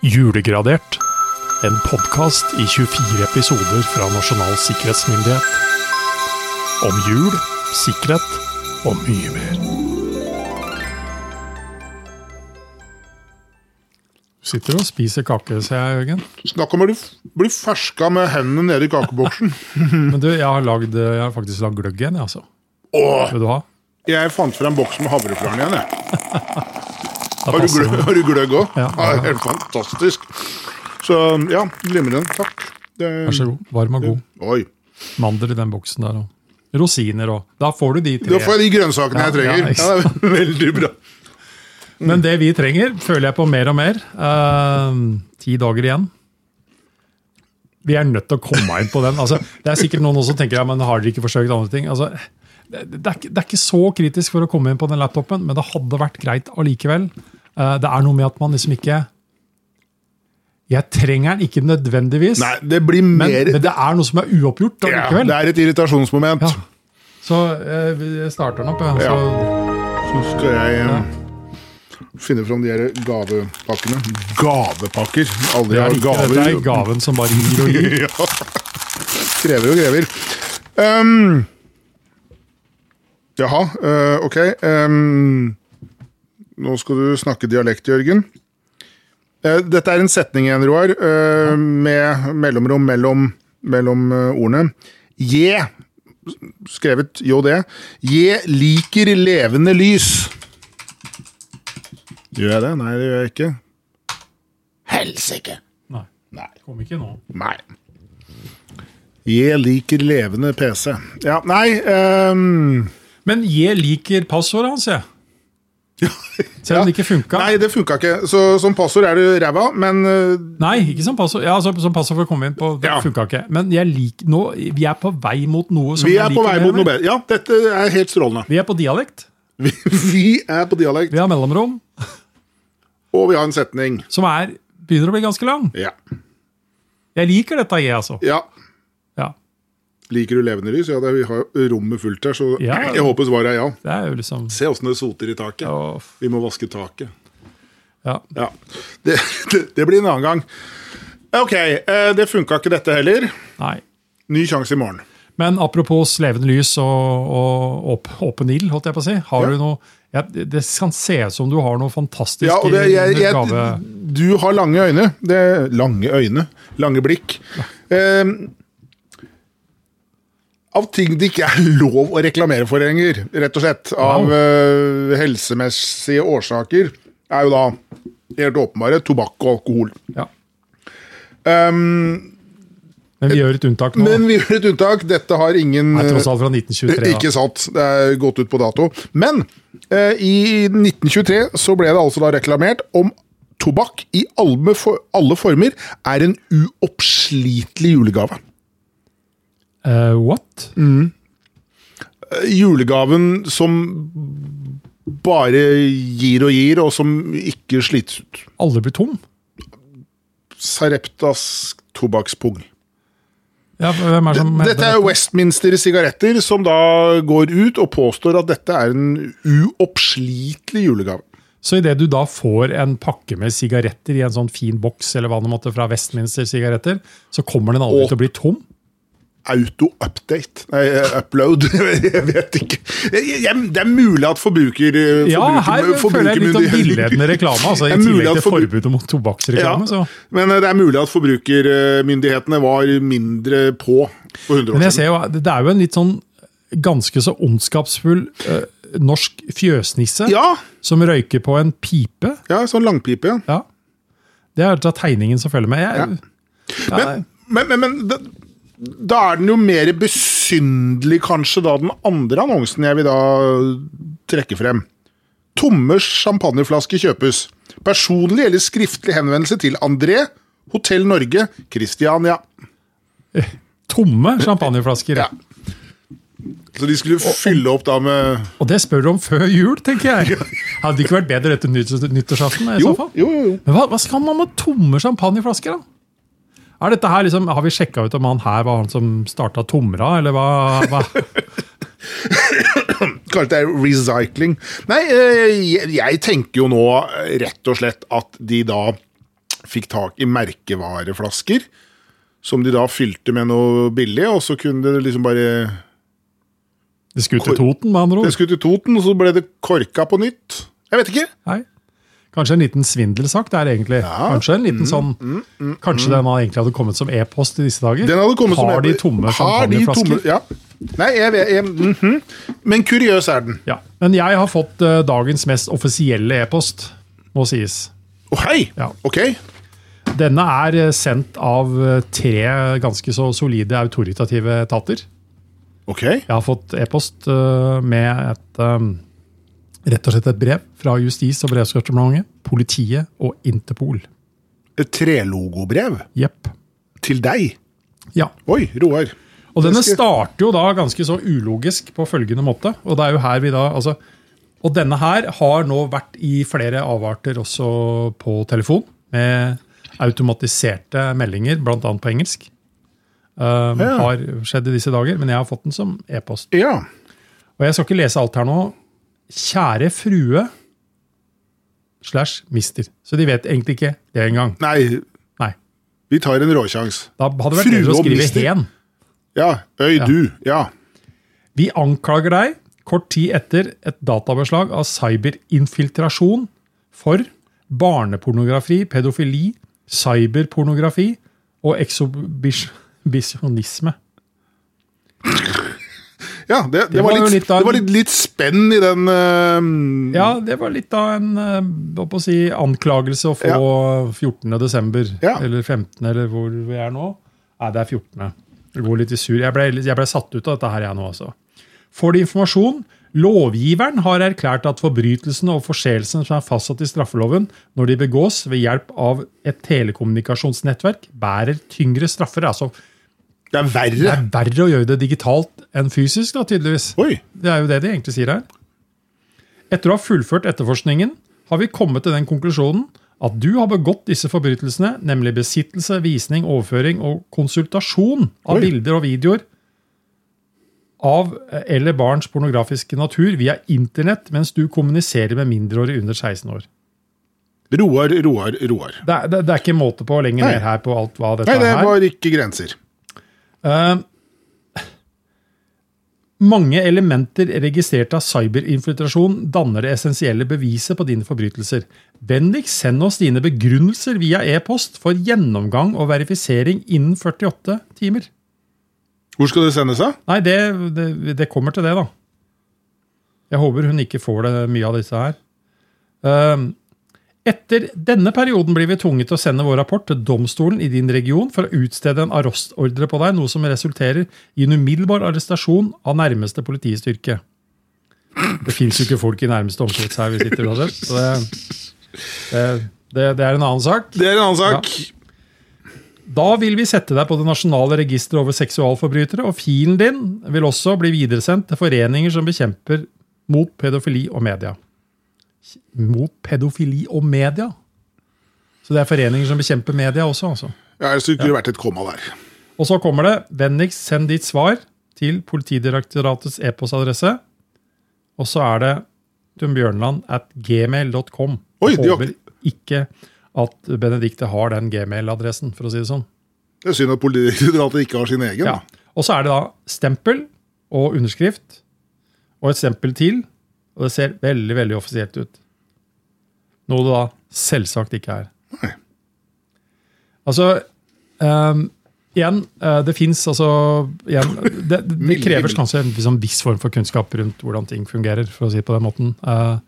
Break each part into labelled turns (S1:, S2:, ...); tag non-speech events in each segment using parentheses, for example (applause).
S1: Julegradert. En podkast i 24 episoder fra Nasjonal sikkerhetsmyndighet. Om jul, sikkerhet og mye mer. Du sitter og spiser kake, ser jeg, Jørgen.
S2: Snakk om å bli, bli ferska med hendene nede i
S1: (laughs)
S2: kakeboksen. Mm.
S1: Men du, jeg har, lagd, jeg har faktisk lagd gløgg igjen, jeg, altså.
S2: Åh,
S1: Vil du ha?
S2: jeg fant frem boksen med havreflaren igjen. jeg.
S1: Da
S2: Har du,
S1: passer
S2: glø,
S1: det.
S2: har du gløgg òg?
S1: Ja.
S2: Helt fantastisk. Så ja, glimrende. Takk. Det-
S1: Vær så god. Varm og god.
S2: Oi.
S1: Mandel i den boksen der, og rosiner og Da får du de
S2: Da
S1: tre.
S2: får jeg de grønnsakene
S1: Ja,
S2: jeg
S1: ja,
S2: trenger.
S1: ikke
S2: Ja, det er (laughs) veldig bra.
S1: Men det vi trenger, føler jeg på mer og mer. Ehm, ti dager igjen. Vi er nødt til å komme inn på den. Altså, det er sikkert noen også som tenker ja, men har dere ikke forsøkt andre ting? Altså, det, det, er ikke, det er ikke så kritisk for å komme inn på den laptopen, men det hadde vært greit allikevel. Eh, det er noe med at man liksom ikke Jeg trenger den ikke nødvendigvis,
S2: Nei, det blir
S1: men,
S2: mer
S1: men det er noe som er uoppgjort
S2: ja,
S1: allikevel.
S2: Det er et irritasjonsmoment.
S1: Ja. Så eh, vi starter den opp. Ja. Så,
S2: Så skal jeg eh, finne fram de her gavepakkene. Gavepakker!
S1: Mm.
S2: Aldri
S1: det
S2: har
S1: er ikke, dette er
S2: gaver.
S1: gaven som bare gir og gir.
S2: (laughs) ja. Krever og krever. Ehm, jaha, eh, ok. ehm, nå skal du snakke dialekt, Jørgen. Eh, dette er en setning igjen, Roar, eh, med mellomrom mellom, mellom eh, ordene. Je, skrevet JD. Je liker levende lys. Gjør jeg det? Nei, det gjør jeg ikke. Helsike!
S1: Nei,
S2: Nei.
S1: kom ikke nå.
S2: Nei. Jeg liker levende PC. Ja, nei ehm,
S1: Men jeg liker passordet hans, jeg. Selv om det ikke funka.
S2: Nei,
S1: Nei.
S2: det funka ikke. Så som passord er du ræva, men eh,
S1: ikke som passord. Ja, altså, som passord for å komme inn på. Det
S2: Ja.
S1: funka ikke. Men jeg liker, nå, vi er på vei mot noe som
S2: vi
S1: jeg
S2: er på
S1: liker
S2: vei
S1: mer
S2: mot
S1: og
S2: noe
S1: mer.
S2: bedre. Ja, dette er helt strålende. (laughs)
S1: Vi er på dialekt.
S2: Vi, vi er på dialekt,
S1: Vi har mellomrom,
S2: og vi har en setning.
S1: som er, begynner å bli ganske lang.
S2: Ja.
S1: Jeg liker dette, jeg, altså.
S2: ja.
S1: Ja,
S2: Liker du levende lys? Ja, det, vi har jo rommet fullt her, så
S1: Ja.
S2: jeg håper svaret er ja.
S1: Det er jo liksom
S2: Se åssen det soter i taket.
S1: Åh,
S2: Vi må vaske taket.
S1: ja.
S2: Ja. Det, (laughs) det, det blir en annen gang. Ok, eh, det funka ikke dette heller.
S1: Nei.
S2: Ny sjanse i morgen.
S1: Men apropos levende lys og, og åp, åpen ild, holdt jeg på å si. Har
S2: Ja.
S1: du noe ja, det- Det kan se ut som du har noe fantastisk
S2: Ja, og det, jeg,
S1: gave.
S2: jeg, du har lange øyne. Det, lange øyne. Lange blikk. Ehm, av ting det ikke er lov å reklamere for lenger, rett og slett, av
S1: Wow.
S2: eh, helsemessige årsaker, er jo da helt åpenbare tobakk og alkohol.
S1: Ja.
S2: Ehm,
S1: Men vi gjør et unntak nå.
S2: men vi gjør et unntak. Dette har ingen
S1: Det er tross
S2: eh,
S1: alt fra 1923.
S2: Ikke
S1: Da.
S2: sant. Det er gått ut på dato. Men eh, i 1923 så ble det altså da reklamert om tobakk i alle, for, alle former er en uoppslitelig julegave.
S1: Eh, what?
S2: Mm. Eh, Julegaven som bare gir og gir, og som ikke slites ut.
S1: Alle blir tom?
S2: Sareptas tobakkspung.
S1: Ja, hvem er det som
S2: Dette er Westminster sigaretter, som da går ut og påstår at dette er en uoppslitelig julegave.
S1: Så idet du da får en pakke med sigaretter i en sånn fin boks eller hva det måtte fra Westminster sigaretter, så kommer den aldri
S2: Og-
S1: til å bli tom?
S2: Auto-update? Nei, eh, upload? (laughs) jeg vet ikke. Jeg, jeg, det er mulig at forbruker... eh,
S1: Ja, her
S2: forbruker-
S1: føler jeg litt av
S2: forbrukermyndighet-
S1: villedende reklame. altså
S2: (laughs) Det
S1: I
S2: er mulig
S1: tillegg
S2: at
S1: til
S2: forbru-
S1: forbudet mot tobakksreklame.
S2: Ja,
S1: så.
S2: men eh, det er mulig at forbrukermyndighetene var mindre på for 100
S1: Men
S2: år
S1: jeg
S2: siden.
S1: ser jo, det er jo en litt sånn ganske så ondskapsfull eh, norsk fjøsnisse
S2: Ja,
S1: som røyker på en pipe.
S2: ja, sånn langpipe. ja.
S1: Ja. Det er da tegningen som følger med. Jeg, ja.
S2: Men, men, men, men da, da er den jo mer besynderlig kanskje da den andre annonsen jeg vil da trekke frem. Tomme champagneflasker kjøpes. Personlig eller skriftlig henvendelse til André, Hotell Norge, Kristiania.
S1: Tomme champagneflasker.
S2: Ja. Så de skulle fylle opp da med
S1: Og det spør du om før jul, tenker jeg. (laughs) Hadde det ikke vært bedre etter nytt- nyttårsaften? i
S2: Jo,
S1: så fall?
S2: jo, jo. jo.
S1: Men hva, hva skal man med tomme champagneflasker, da? Er dette her liksom, Har vi sjekka ut om han her var han som starta Tomra, eller hva? hva?
S2: Kanskje det er recycling. Nei, eh, jeg, jeg tenker jo nå eh, rett og slett at de da fikk tak i merkevareflasker, som de da fylte med noe billig, og så kunne det liksom bare
S1: Det skulle til Toten, med andre
S2: Det
S1: ord.
S2: skulle til Toten, og så ble det korka på nytt. Jeg vet ikke.
S1: Nei. Kanskje en liten svindelsak der, egentlig. Kanskje en
S2: Mm,
S1: liten sånn, kanskje den har egentlig hadde kommet som e-post i disse dager?
S2: Den hadde kommet
S1: har
S2: som-
S1: de tomme
S2: Har de tomme-
S1: champagneflasker?
S2: Ja. Nei, jeg vet jeg, mhm. Men kuriøs er den.
S1: Ja. Men jeg har fått eh, dagens mest offisielle e-post, må sies.
S2: Å, hei!
S1: Ja.
S2: Ok.
S1: Denne er eh, sendt av eh, tre ganske så solide autoritative etater.
S2: Ok.
S1: Jeg har fått e-post eh, med et eh, rett og slett et brev fra Justis- og beredskapsdepartementet, politiet og Interpol.
S2: Et trelogobrev
S1: Jepp.
S2: til deg.
S1: Ja.
S2: Oi, Roar.
S1: Og denne
S2: Ganske-
S1: starter jo da ganske så ulogisk på følgende måte. Og det er jo her vi da, altså, og denne her har nå vært i flere avarter også på telefon, med automatiserte meldinger, bl.a. på engelsk. Um,
S2: Ja.
S1: Har skjedd i disse dager, men jeg har fått den som e-post.
S2: Ja.
S1: Og jeg skal ikke lese alt her nå. Kjære frue slash mister. Så de vet egentlig ikke det engang.
S2: Nei,
S1: Nei.
S2: vi tar en råsjans.
S1: Da hadde det vært
S2: Frue
S1: bedre å
S2: og
S1: skrive
S2: mister?
S1: hen.
S2: Ja. Øy,
S1: Ja.
S2: du. Ja.
S1: Vi anklager deg kort tid etter et databeslag av cyberinfiltrasjon for barnepornografi, pedofili, cyberpornografi og eksobisjonisme.
S2: ja det, det, var
S1: var jo
S2: litt,
S1: litt av-
S2: det var litt, litt spenn i den ehm,
S1: Ja, det var litt av en eh, hva på å si, anklagelse å få
S2: Ja.
S1: 14. desember,
S2: Ja.
S1: eller 15., eller hvor vi er nå. Nei, det er 14. Det går litt i sur. Jeg ble, jeg ble satt ut av dette her, jeg nå, altså. Får de informasjon? Lovgiveren har erklært at forbrytelsene og forseelsene som er fastsatt i straffeloven når de begås ved hjelp av et telekommunikasjonsnettverk, bærer tyngre straffer. Altså,
S2: Det er
S1: det
S2: verre.
S1: er verre å gjøre det digitalt enn fysisk, da, tydeligvis.
S2: Oi.
S1: Det er jo det de egentlig sier her. Etter å ha fullført etterforskningen har vi kommet til den konklusjonen at du har begått disse forbrytelsene, nemlig besittelse, visning, overføring og konsultasjon av
S2: Oi.
S1: bilder og videoer av eh, eller barns pornografiske natur via internett mens du kommuniserer med mindreårige under 16 år.
S2: Roar, Roar, Roar.
S1: Det er, det, det er ikke måte på lenger
S2: Nei.
S1: ned her på alt hva dette
S2: Nei, det
S1: er.
S2: var ikke grenser.
S1: Eh, mange elementer registrert av cyberinfiltrasjon danner det essensielle beviset på dine forbrytelser. Vennligst send oss dine begrunnelser via e-post for gjennomgang og verifisering innen 48 timer.
S2: Hvor skal det sendes, da?
S1: Nei, det, det, det kommer til det, da. Jeg håper hun ikke får det mye av disse her. Ehm, etter denne perioden blir vi tvunget til å sende vår rapport til domstolen i din region for å utstede en arrestordre på deg, noe som resulterer i en umiddelbar arrestasjon av nærmeste politistyrke. Det fins jo ikke folk i nærmeste omkrets her vi sitter, uansett, så det, det, det, det er en annen sak.
S2: Det er en annen sak.
S1: Da vil vi sette deg på det nasjonale registeret over seksualforbrytere, og filen din vil også bli videresendt til foreninger som bekjemper mot pedofili og media. Mot pedofili og media? Så det er foreninger som bekjemper media også, altså.
S2: Ja, Ellers skulle det vært et komma der.
S1: Og så kommer det vennligst send ditt svar til Politidirektoratets e-postadresse. Og så er det tunbjørnland at gmail.com.
S2: Oi,
S1: Jeg
S2: de har-
S1: Håper ikke at Benedikte har den gmail-adressen, for å si det sånn.
S2: Det er synd at Politidirektoratet ikke har sin egen.
S1: Ja.
S2: da.
S1: Og så er det da stempel og underskrift og et stempel til. Og det ser veldig veldig offisielt ut. Noe det da selvsagt ikke er.
S2: Nei.
S1: Altså ehm, Igjen, eh, det fins altså igjen, det, det, det
S2: Milde
S1: krever
S2: himmel.
S1: kanskje en liksom, viss form for kunnskap rundt hvordan ting fungerer, for å si det på den måten. Eh,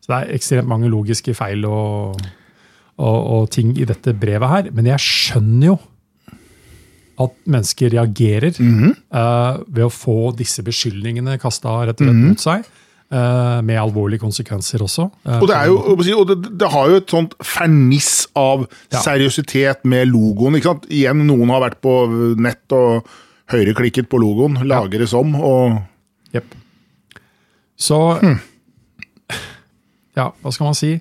S1: så det er ekstremt mange logiske feil og, og, og ting i dette brevet her. Men jeg skjønner jo at mennesker reagerer
S2: Mhm.
S1: eh, ved å få disse beskyldningene kasta rett og
S2: Mhm.
S1: slett mot seg. eh, med alvorlige konsekvenser også. Eh,
S2: Og, det, er jo, jeg må si, og det, det har jo et sånt ferniss av
S1: Ja.
S2: seriøsitet med logoen. ikke sant? Igjen, noen har vært på nett og høyreklikket på logoen, lager det som, og
S1: Jepp. Så
S2: Hm.
S1: (sighs) Ja, hva skal man si?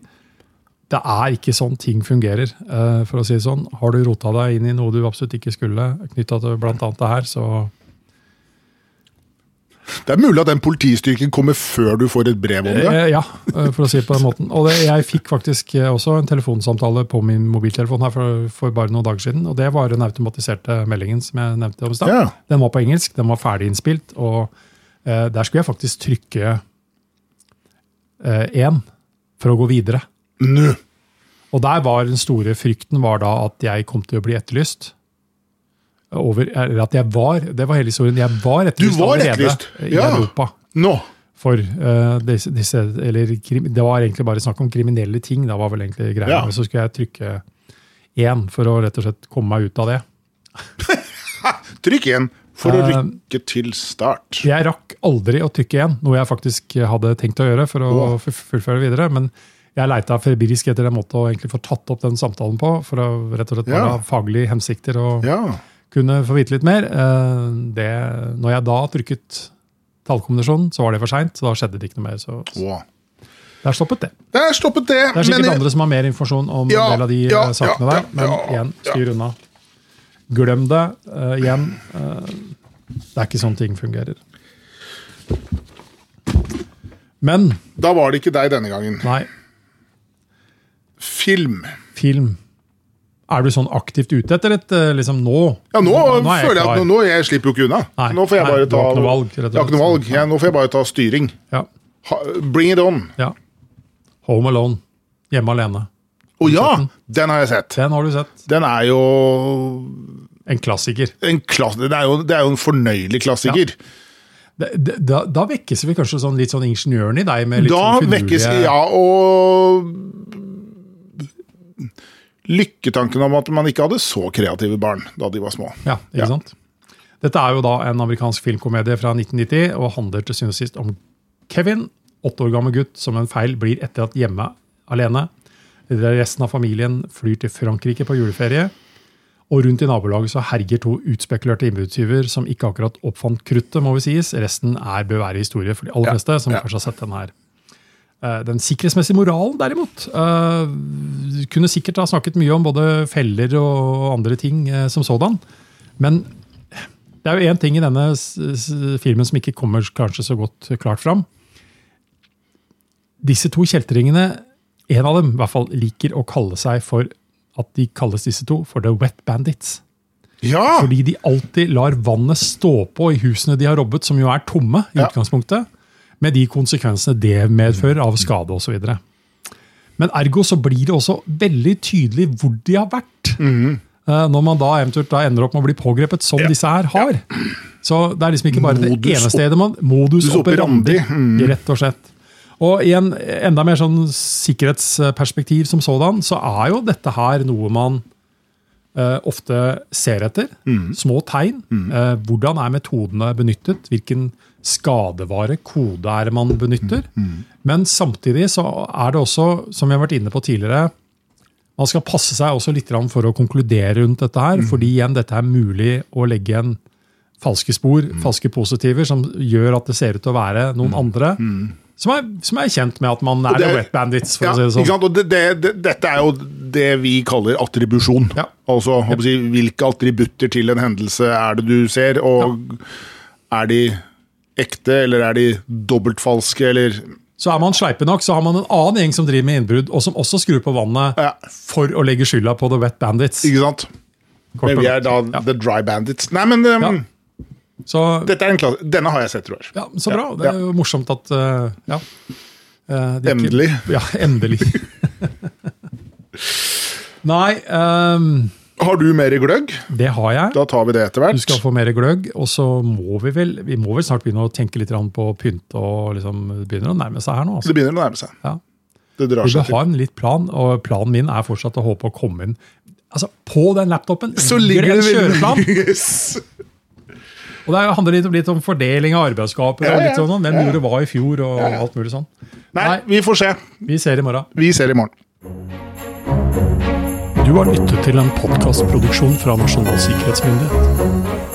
S1: Det er ikke sånn ting fungerer, eh, for å si det sånn. Har du rota deg inn i noe du absolutt ikke skulle, knytta til bl.a. det her, så
S2: Det er mulig at den politistyrken kommer før du får et brev om det.
S1: Eh, Ja, eh, for å si det på den måten. Og det, jeg fikk faktisk eh, også en telefonsamtale på min mobiltelefon her for, for bare noen dager siden. Og det var den automatiserte meldingen som jeg nevnte om i stad.
S2: Ja.
S1: Den var på engelsk, den var ferdig innspilt, og eh, der skulle jeg faktisk trykke én for å gå videre.
S2: Nå!
S1: Og der var den store frykten var da at jeg kom til å bli etterlyst. Over, eller at jeg var, det var hele historien. Jeg var etterlyst
S2: var
S1: allerede
S2: etterlyst,
S1: i
S2: ja.
S1: Europa
S2: Nå!
S1: for eh, disse, disse eller, krim, Det var egentlig bare snakk om kriminelle ting. Da var vel egentlig greia.
S2: Ja.
S1: Men Så skulle jeg trykke én for å rett og slett komme meg ut av det.
S2: Trykk igjen for å
S1: Eh,
S2: rykke til start.
S1: Jeg rakk aldri å trykke én, noe jeg faktisk hadde tenkt å gjøre for å fu- fullføre videre. men jeg leita febrilsk etter en måte å egentlig få tatt opp den samtalen på, for å rett og slett bare
S2: Ja.
S1: ha faglige hensikter og
S2: Ja.
S1: kunne få vite litt mer. Eh, Det, når jeg da trykket tallkombinasjonen, så var det for seint. Da skjedde det ikke noe mer. Så så
S2: Wow.
S1: der stoppet det.
S2: Der stoppet det.
S1: Det er sikkert
S2: men-
S1: andre som har mer informasjon om
S2: Ja,
S1: en del av de
S2: ja,
S1: eh, sakene
S2: ja,
S1: der, men
S2: ja,
S1: igjen, styr unna. Glem det. eh, igjen, eh, det er ikke sånn ting fungerer. Men,
S2: Da var det ikke deg denne gangen.
S1: nei,
S2: Film.
S1: film. Er du sånn aktivt ute etter et eh, liksom nå?
S2: Ja, nå,
S1: er
S2: føler jeg at
S1: klar.
S2: nå, nå jeg slipper jo ikke unna.
S1: Nei,
S2: nå får jeg
S1: nei, du
S2: bare ta
S1: har ikke noe valg, rett og
S2: Jeg har ikke noe
S1: slett.
S2: valg. Ja, nå får jeg bare ta styring.
S1: Ja,
S2: Ha, bring it on.
S1: ja. Home Alone. Hjemme alene.
S2: Å ja! Den har jeg sett.
S1: Den har du sett.
S2: Den er jo
S1: En klassiker.
S2: en, klass, den er jo, det er jo en fornøyelig klassiker.
S1: Da, da, da vekkes vi kanskje sånn, litt sånn ingeniøren i deg? med litt
S2: da
S1: sånn
S2: vekkes
S1: finurlige-
S2: Ja, og Lykketanken om at man ikke hadde så kreative barn da de var små.
S1: Ja, ikke
S2: Ja.
S1: sant? Dette er jo da en amerikansk filmkomedie fra 1990, og handler til syvende og sist om Kevin, åtte år gammel gutt, som en feil blir etter at hjemme alene. Der resten av familien flyr til Frankrike på juleferie. Og rundt i nabolaget så herjer to utspekulerte innbruddstyver som ikke akkurat oppfant kruttet, må vi sies. Resten er bør være historie for de aller
S2: Ja,
S1: fleste som
S2: ja.
S1: kanskje har sett den her. Eh, Den sikkerhetsmessige moralen, derimot, eh, kunne sikkert ha snakket mye om både feller og andre ting eh, som sådan. Men det er jo én ting i denne s- s- filmen som ikke kommer kanskje så godt klart fram. Disse to kjeltringene, en av dem i hvert fall, liker å kalle seg for at de kalles disse to for The Wet Bandits.
S2: Ja!
S1: Fordi de alltid lar vannet stå på i husene de har robbet, som jo er tomme i
S2: Ja.
S1: utgangspunktet, med de konsekvensene det medfører av skade osv. Men ergo så blir det også veldig tydelig hvor de har vært.
S2: Mhm.
S1: eh, Når man da eventuelt da ender opp med å bli pågrepet, som disse her har. Så det er liksom ikke bare det
S2: Modus
S1: ene stedet man Modus operandi,
S2: operandi.
S1: rett og slett. Og i en enda mer sånn sikkerhetsperspektiv som sådan, så er jo dette her noe man eh, ofte ser etter. Små tegn. Eh, hvordan er metodene benyttet? Hvilken skadevare, kode er det man benytter? Men samtidig så er det også, som vi har vært inne på tidligere, man skal passe seg også litt grann for å konkludere rundt dette
S2: Mm.
S1: her, fordi igjen, dette er mulig å legge igjen falske spor,
S2: Mm.
S1: falske positiver, som gjør at det ser ut til å være noen andre som, er, som er kjent med at man er
S2: Mm. det er-
S1: the wet bandits, for
S2: Ja,
S1: å si det sånn.
S2: ikke sant? Og det, det, det, dette er jo det vi kaller attribusjon.
S1: Ja.
S2: Altså håper jeg å si, hvilke attributter til en hendelse er det du ser, og er de ekte, eller er de dobbeltfalske, eller
S1: Så er man sleipe nok, så har man en annen gjeng som driver med innbrudd, og som også skrur på vannet
S2: Ja.
S1: for å legge skylda på the wet bandits.
S2: Ikke sant?
S1: Kort
S2: Men
S1: og
S2: vi er
S1: godt.
S2: da the dry bandits. Nei, men um,
S1: Ja. Så,
S2: dette er en klasse. Denne har jeg sett, tror jeg.
S1: ja, så bra.
S2: Ja,
S1: Det er jo morsomt at eh, ja. Eh, det er ikke-
S2: Endelig.
S1: Ja,
S2: (laughs)
S1: endelig. Nei, ehm,
S2: Har du mer gløgg?
S1: det har jeg.
S2: Da tar vi det etter hvert.
S1: Du skal få mer gløgg. Og så må vi vel vi må vel snart begynne å tenke litt grann på pynt og liksom begynner å nærme seg her nå. Altså.
S2: Det begynner å nærme seg.
S1: Ja.
S2: Det drar
S1: Vi bør
S2: seg
S1: ha
S2: til.
S1: en litt plan, og planen min er fortsatt å håpe å komme inn. Altså, På den laptopen ligger det en kjøreplan!
S2: (laughs) Yes.
S1: Og det handler litt, litt om fordeling av arbeidsskaper
S2: Ja,
S1: og
S2: ja.
S1: litt sånn, hvem gjorde hva i fjor og alt mulig sånn.
S2: Nei,
S1: Nei.
S2: vi får se.
S1: Vi ser i morgen.
S2: Vi ser i morgen.
S1: Du har lyttet til en podkastproduksjon fra Nasjonal sikkerhetsmyndighet.